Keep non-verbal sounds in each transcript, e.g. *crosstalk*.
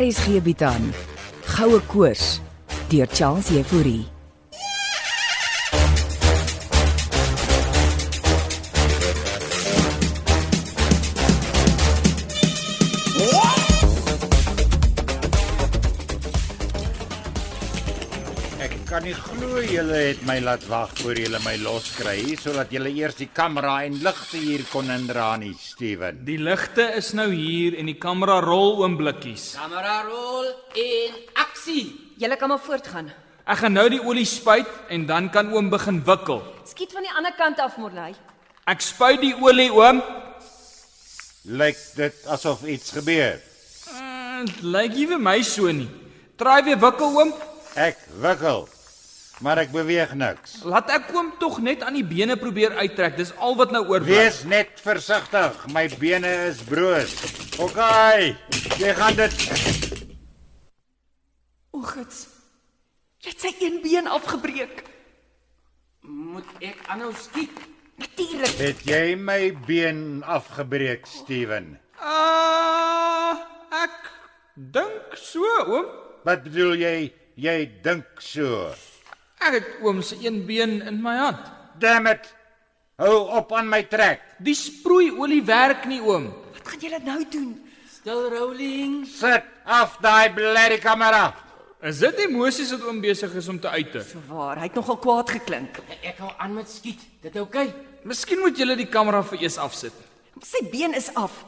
RSG bied aan Goue Koors deur Charles Euphorie. Ek kan nie glo julle het my laat wag voor julle my loskry sodat julle eers die kamera en ligte hier kon indra nie, Steven. Die ligte is nou hier en die kamera rol oomblikkies. Kamera rol in aksie. Julle kan maar voortgaan. Ek gaan nou die olie spuit en dan kan oom begin wikkel. Skiet van die ander kant af, Morley. Ek spuit die olie oom. Lyk dit asof iets gebeur. Mm, Dit lyk nie vir my so nie. Try weer wikkel oom. Ek wikkel, maar ek beweeg niks. Laat ek oom tog net aan die bene probeer uittrek. Dis al wat nou oorbly. Wees net versigtig, my bene is broos. OK, jy gaan dit Oggits. Jy het sy een been afgebreek. Moet ek aanhou skiet? Natuurlik. het jy my been afgebreek, Steven. Ah, uh, ek dink so oom. Wat bedoel jy? Jy dink so. Ek het oom se een been in my hand. Damn it. Hou op aan my trek. Die sproeiolie werk nie oom. Wat gaan julle nou doen? Still rolling. Sit af daai blerrie kamera. Is dit emosies wat oom besig is om te uiter? Waar, hy het nogal kwaad geklink. Ek hou aan met skiet. Dit oukei. Miskien moet julle die kamera vir eers afsit. Sy been is af.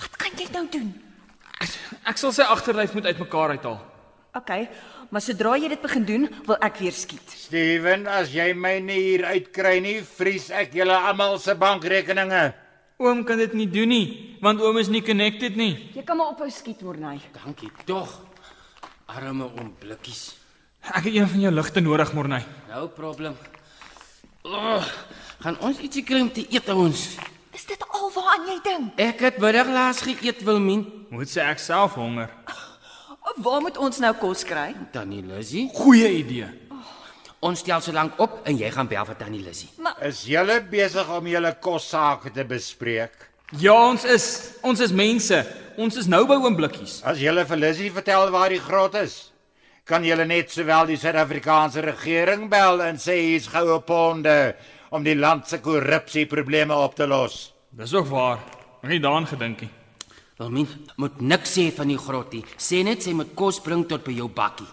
Wat kan jy nou doen? Ek sal sy agterlyf moet uitmekaar uithaal. OK, maar sodra jy dit begin doen, wil ek weer skiet. Steven, as jy my nie hier uitkry nie, vries ek julle almal se bankrekeninge. Oom kan dit nie doen nie, want oom is nie connected nie. Jy kan maar ophou skiet, Morney. Dankie tog. Arme oom blikkies. Ek het een van jou ligte nodig, Morney. Nou probleem. Oh, gaan ons ietsie kry om te eet ouens. Is dit al waaraan jy dink? Ek het middaglaas geëet Wilmien. Moet sê ek self honger. Of waar moet ons nou kos kry? Tannie Lizzy, Goeie idee. ons stel so lank op en jy gaan bel vir Tannie Lizzy. Is julle besig om julle kossake te bespreek? Ja, ons is ons is mense. Ons is nou by oom Blikkies. As julle vir Lizzy vertel waar die grot is, kan julle net sowel die Suid-Afrikaanse regering bel en sê hier's goue ponde om die land se korrupsieprobleme op te los. Dis ook waar. Ek het nie daaraan gedink nie. Wilmien, moet niks sê van die grottie. Sê net sy moet kos bring tot by jou bakkie.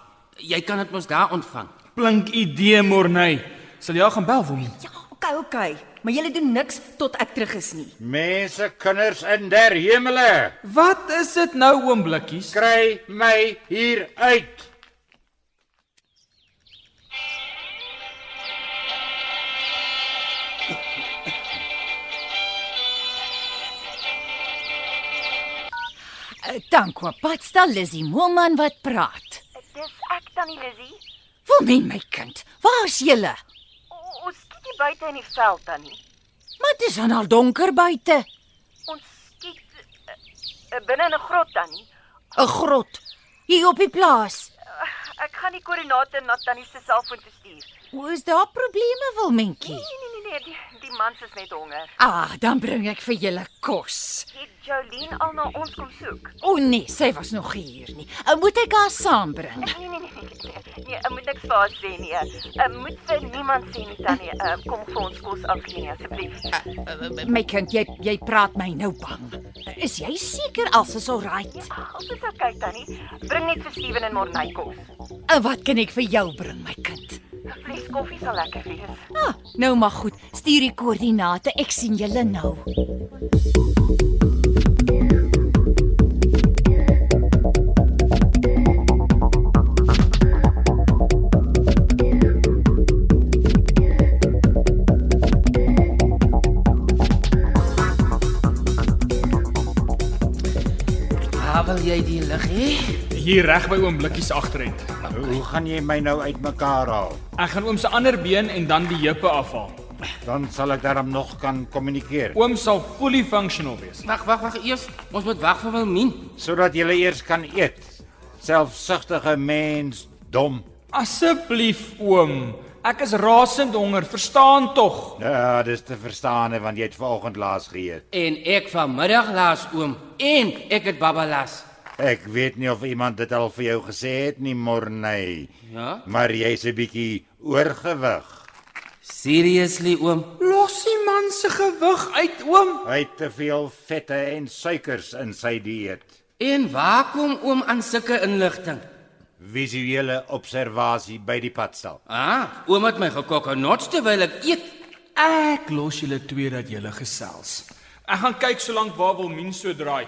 Jy kan dit mos daar ontvang. Blink idee, Morney. Sal jy al gaan bel vir hom? Ja, OK, OK. Maar julle doen niks tot ek terug is nie. Mense, kinders in der hemele, Wat is dit nou oom Blikkies? kry my hier uit. Eh, Dankie, Patsta Lizzie Moelman wat praat. Dis ek tannie Lizzy. Wilmien my kind, waar's julle? O- Ons skiet hier buite in die veld tannie. Maar dit is dan al donker buite. Ons skiet eh, eh, binne in 'n grot tannie. 'n Grot hier op die plaas. Ek gaan die koördinate na tannie se selfoon toe stuur. Hoe is daar probleme, Wilmientjie? Nee nee nee nee, die, die man is net honger. Ah, dan bring ek vir julle kos. Het Jolene al na ons kom soek? O oh, nee, sy was nog hier nie. Ou moet ek haar saambring. Nee nee nee nee. nee. Nee, ek moet niks vir haar sê nie. Ek moet vir niemand sê nie tannie. Eh, Kom vir ons kos afgee nie asseblief. My kind, jy jy praat my nou bang. Is jy seker alles is alright? Ons is okay tannie. Bring net vir Steven en Morney kos. En wat kan ek vir jou bring, my kind? Vleis koffie sal lekker wees. Ah, nou maar goed. Stuur die koördinate. Ek sien julle nou. Waar wil jy die lig hê? Hier reg by oom Blikkies agteruit. Hoe gaan jy my nou uitmekaar haal? Ek gaan oom se ander been en dan die heupe afhaal. Dan sal ek daarom nog kan kommunikeer. Oom sal fully functional wees. Wag, wag, wag eers. Ons moet wag vir Wilmien. sodat jy eers kan eet. Selfsugtige mens, dom. Asseblief oom, ek is rasend honger, verstaan tog. Ja, dis te verstaan hè, want jy het vanoggend laas geëet. En ek vanmiddag laas oom en ek het babalas. Ek weet nie of iemand dit al vir jou gesê het nie, Morney. Ja? Maar jy's 'n bietjie oorgewig. Seriously oom? Los die man se gewig uit, oom. Hy het te veel vette en suikers in sy dieet. En waar kom oom aan sulke inligting? Visuele observasie by die padstal. Ah, oom het my gekokkenot terwyl ek eet. Ek los julle twee dat julle gesels. Ek gaan kyk solank waar wil min so draai.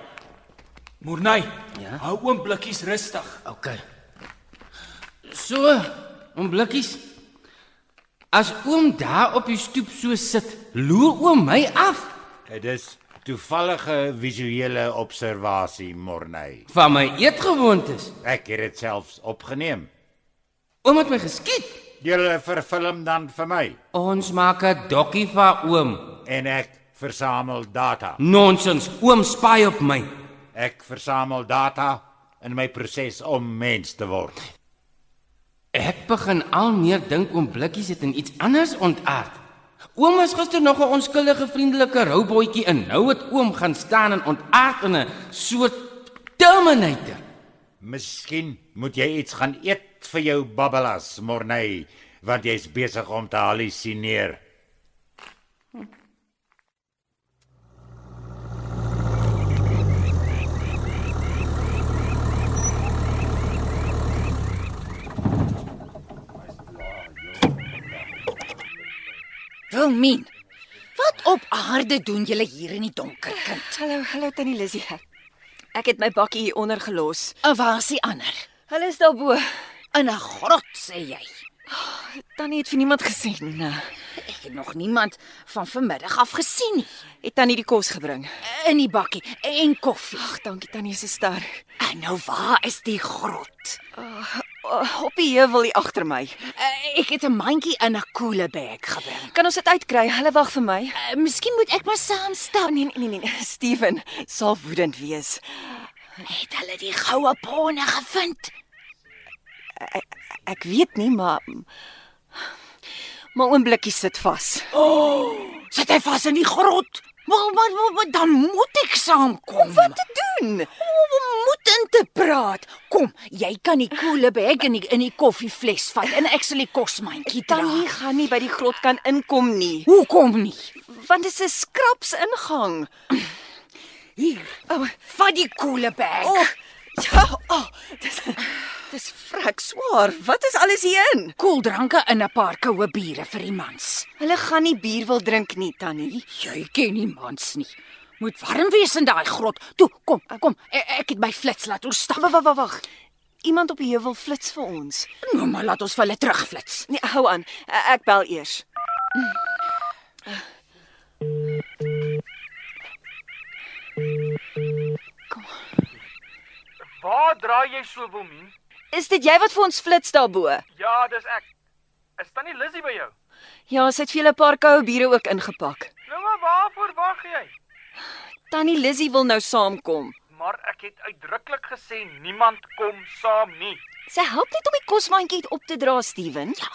Morney, Ja? hou oom blikkies rustig. OK. So, oom Blikkies. As oom daar op die stoep so sit, loer oom my af Dit is toevallige visuele observasie, Morney. van my eetgewoontes. Ek het dit selfs opgeneem. Oom het my geskiet. Jy verfilm dan vir my Ons maak 'n dokkie van oom. en ek versamel data. Nonsens, oom spy op my. Ek versamel data in my proses om mens te word. Ek begin al meer dink oom Blikkies het in iets anders ontaard. Oom was gister nog 'n onskuldige vriendelike roubotjie en nou het oom gaan staan en ontaard in 'n soort Terminator. Miskien moet jy iets gaan eet vir jou babbelas, Morney, want jy's besig om te hallusineer. Wilmien, wat op aarde doen julle hier in die donker, kind? Hallo, hallo Tannie Lizzie. Ek het my bakkie hier onder gelos. En waar is die ander? Hulle is daarbo. In 'n grot sê jy. Tannie het vir niemand gesien. nee. Ek het nog niemand van vanmiddag af gesien nie. Het Tannie die kos gebring? In die bakkie en koffie. Ag, dankie Tannie se ster. En nou waar is die grot? Oh, op die heuwel hier agter my. Eh, Ek het 'n mandjie in 'n koelebag gebring. Kan ons dit uitkry? Hulle wag vir my. Eh, Miskien moet ek maar saam stap. Nee, nee, nee, *laughs* nee. Steven sal woedend wees. Het hulle die goue ponne gevind? Ek weet nie, maar maar oom Blikkie sit vas. Sit hy vas in die grot? Maar maar, maar, maar dan moet ek saamkom. Wat te doen? moet in te praat? Kom, jy kan die koelebag in die in die koffievles vat en ek sal die kosmandjie dra. Tannie gaan nie by die grot kan inkom nie, Hoekom nie? want dit is 'n skraps ingang. Hier. Oh. Vat die koelebag. O, ja, oh, dis dis vrek swaar. Wat is alles hierin? Koeldranke in 'n paar koue biere vir die mans. Hulle gaan nie bier wil drink nie, Tannie. Jy ken nie mans nie. Moet warm wees in daai grot. Toe, kom, kom. Ek, ek het my flits laat oorstap. Wag, wag, wag, wag. Iemand op die heuwel flits vir ons. Nou maar laat ons vir hulle terugflits. Nee, hou aan. E- Ek bel eers. Waar draai jy so wil min? Is dit jy wat vir ons flits daarbo? Ja, dis ek. Is tannie Lizzie by jou? Ja, sy het vir julle 'n paar koue biere ook ingepak. Nou maar waarvoor wag jy? Tannie Lizzie wil nou saamkom. Maar ek het uitdruklik gesê niemand kom saam nie. Sy help net om die kosmandjie op te dra, Steven. Ja.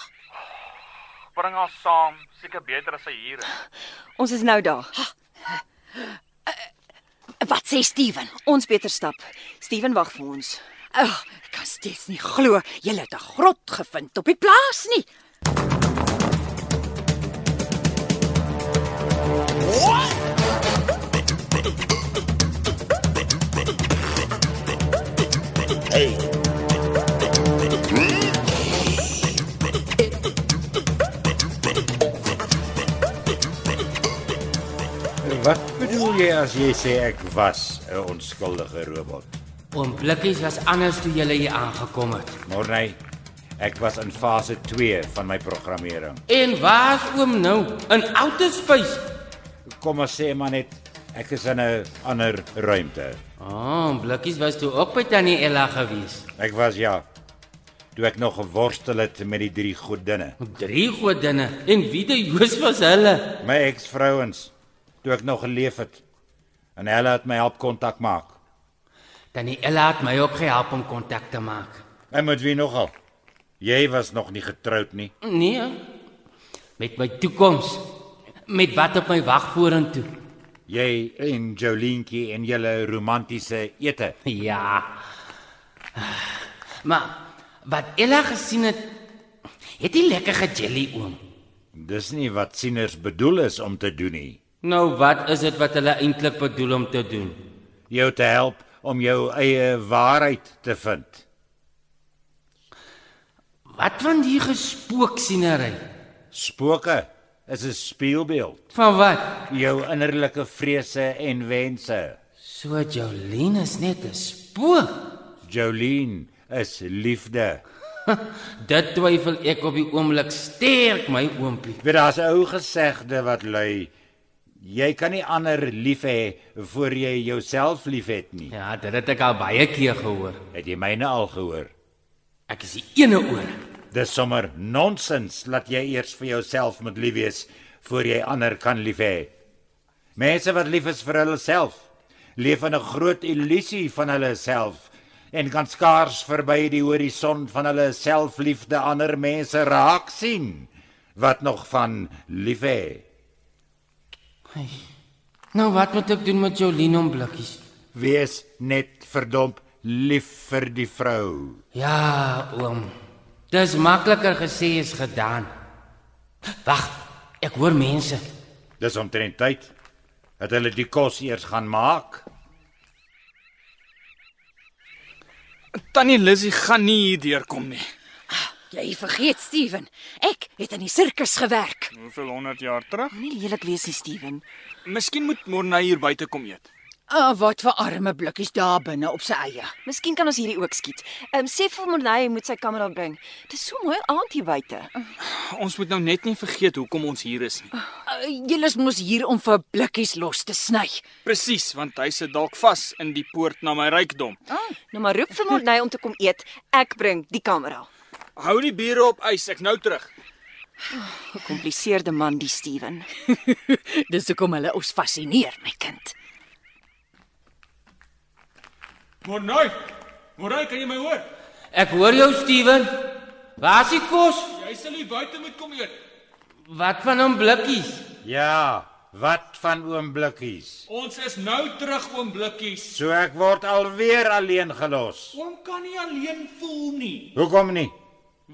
Bring haar saam, seker beter as sy hier is. Ons is nou daar. Wat sê Steven? Ons beter stap. Steven wag vir ons. Ag, ek kan steeds nie glo jy het 'n grot gevind op die plaas nie. Wat bedoel jy as jy sê ek was 'n onskuldige robot? Oom Blikkies was anders toe jy hier aangekom het. Morney, ek was in fase 2 van my programmering. En waar's oom nou? In outer space. Kom ons sê maar net ek is in 'n ander ruimte. Ah, Oom Blikkies was toe ook by tannie Ella gewees. Ek was ja toe ek nog geworstel het met die drie godinne, Drie godinne en wie die Joos was hulle? my eksvrouens, toe ek nog geleef het. En hulle het my help kontak maak. Tannie Ella het my ook gehelp om kontak te maak. En met wie nogal? Jy was nog nie getroud nie. Nee. Met my toekoms. Met wat op my wag vorentoe. *laughs* Jy en Jolientjie en julle romantiese ete. Ja. Maar wat Ella gesien het, het hy lekker gejelly oom. Dis nie wat sieners bedoel is om te doen nie. Nou wat is dit wat hulle eintlik bedoel om te doen? Jou te help om jou eie waarheid te vind. Wat van die gespooksienery? Spooke is 'n speelbeeld. Van wat? Jou innerlike vrese en wense. So Jolene is net 'n spook. Jolene is liefde. Dit twyfel ek op die oomblik sterk my oompie. Weet daar's 'n ou gesegde wat lui: Jy kan nie ander lief hê voor jy jouself liefhet nie. Ja, dit het ek al baie keer gehoor. Het jy myne al gehoor? Ek is die ene oor. Dis sommer nonsens dat jy eers vir jouself moet lief wees voor jy ander kan lief hê. Mense wat lief is vir hulle self, leef in 'n groot illusie van hulle self en kan skaars verby die horison van hulle selfliefde ander mense raak sien wat nog van lief hê. Nou wat moet ek doen met Jolene om blikkies? Wees net verdomp lief vir die vrou. Ja, oom. Dis makliker gesê as gedaan. Wag, ek hoor mense. Dis omtrent tyd dat hulle die kos eers gaan maak. Tannie Lizzy gaan nie hier deurkom nie. Jy vergeet Steven. Ek het in die sirkus gewerk. Hoeveel 100 jaar terug? Moenie lelik wees nie, Steven. Miskien moet Morney hier buite kom eet. Ah, wat vir arme blikkies daar binne op sy eie. Miskien kan ons hierdie ook skiet. Ehm um, sê vir Morney hy moet sy kamera bring. Dis so mooi aand hier buite. Ons moet nou net nie vergeet hoekom ons hier is nie. Uh, Julle is mos hier om vir blikkies los te sny. *laughs* Presies, want hy sit dalk vas in die poort na my rykdom. Nou maar roep vir Morney om te kom eet. Ek bring die kamera. Hou die biere op ys, ek nou terug. Gekompliseerde man die Steven. Dis hoekom hulle ons fascineer, my kind. Morney, Morney, kan jy my hoor? Ek hoor jou, Steven. Waar is die kos? Jy sal hier buite moet kom eet. Wat van hom blikkies? Ja, wat van oom Blikkies? Ons is nou terug oom Blikkies. So ek word alweer alleen gelos. Oom kan nie alleen voel nie, Hoekom nie?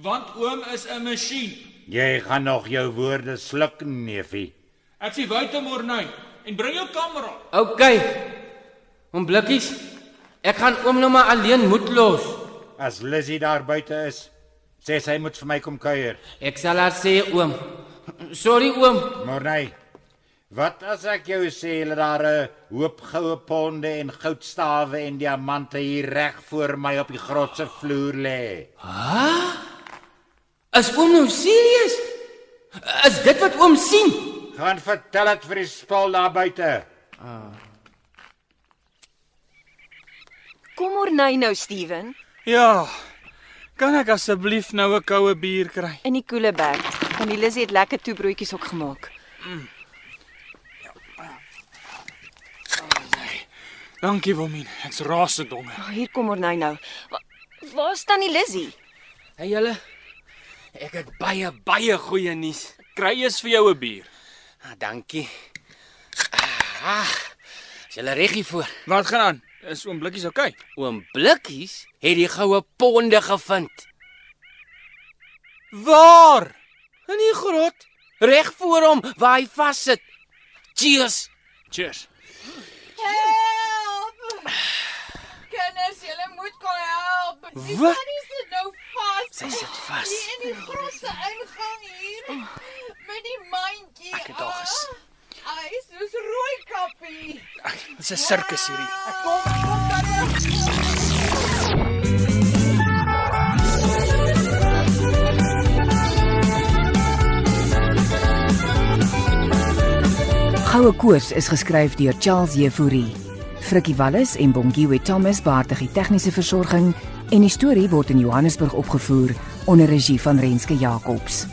want oom is 'n masjien. Jy gaan nog jou woorde sluk, neefie. Ek sê buite Morney en bring jou kamera. OK. Om blikkies. Ek gaan oom nou maar alleen moet los. As Lizzie daar buite is, sê sy moet vir my kom kuier. Ek sal haar sê oom. Sorry oom. Morney, wat as ek jou sê dat daar 'n hoop goue ponde en goudstawe en diamante hier reg voor my op die grotse vloer lê? Is oom nou serieus? Is dit wat oom sien? Gaan vertel dit vir die spul daar buite. Kom Morney nou Steven Ja. Kan ek asseblief nou 'n koue bier kry? in die koelebek. Van die Lizzie het lekker toebroodjies ook gemaak. Dankie Wilmien, ek's rasend honger. Oh, hier kom Morney nou. Wa- Waar staan die Lizzie? Hey julle. Ek het baie baie goeie nuus. Kry eens vir jou 'n bier. Ah, dankie. Ah, is julle reg hier voor? Wat gaan aan? Is oom Blikkies oukei? Okay? Oom Blikkies het die goue ponde gevind Waar? in die grot reg voor hom waar hy vassit. Cheers. Cheers. Kinders, julle moet kom help. Die Wat? tannie sit nou vas. Sy sit vas. Hier in die grootste ingang hier. Met die mandjie. Ek het al ges- Ah, Hy is soos rooi kappie. Dis 'n sirkus hierdie. Kom, kom tannie. Goue koers is geskryf deur Charles Jefouri. Frikkie Wallis en Bongiwe Thomas baartig die tegniese versorging en die storie word in Johannesburg opgevoer onder regie van Renske Jacobs.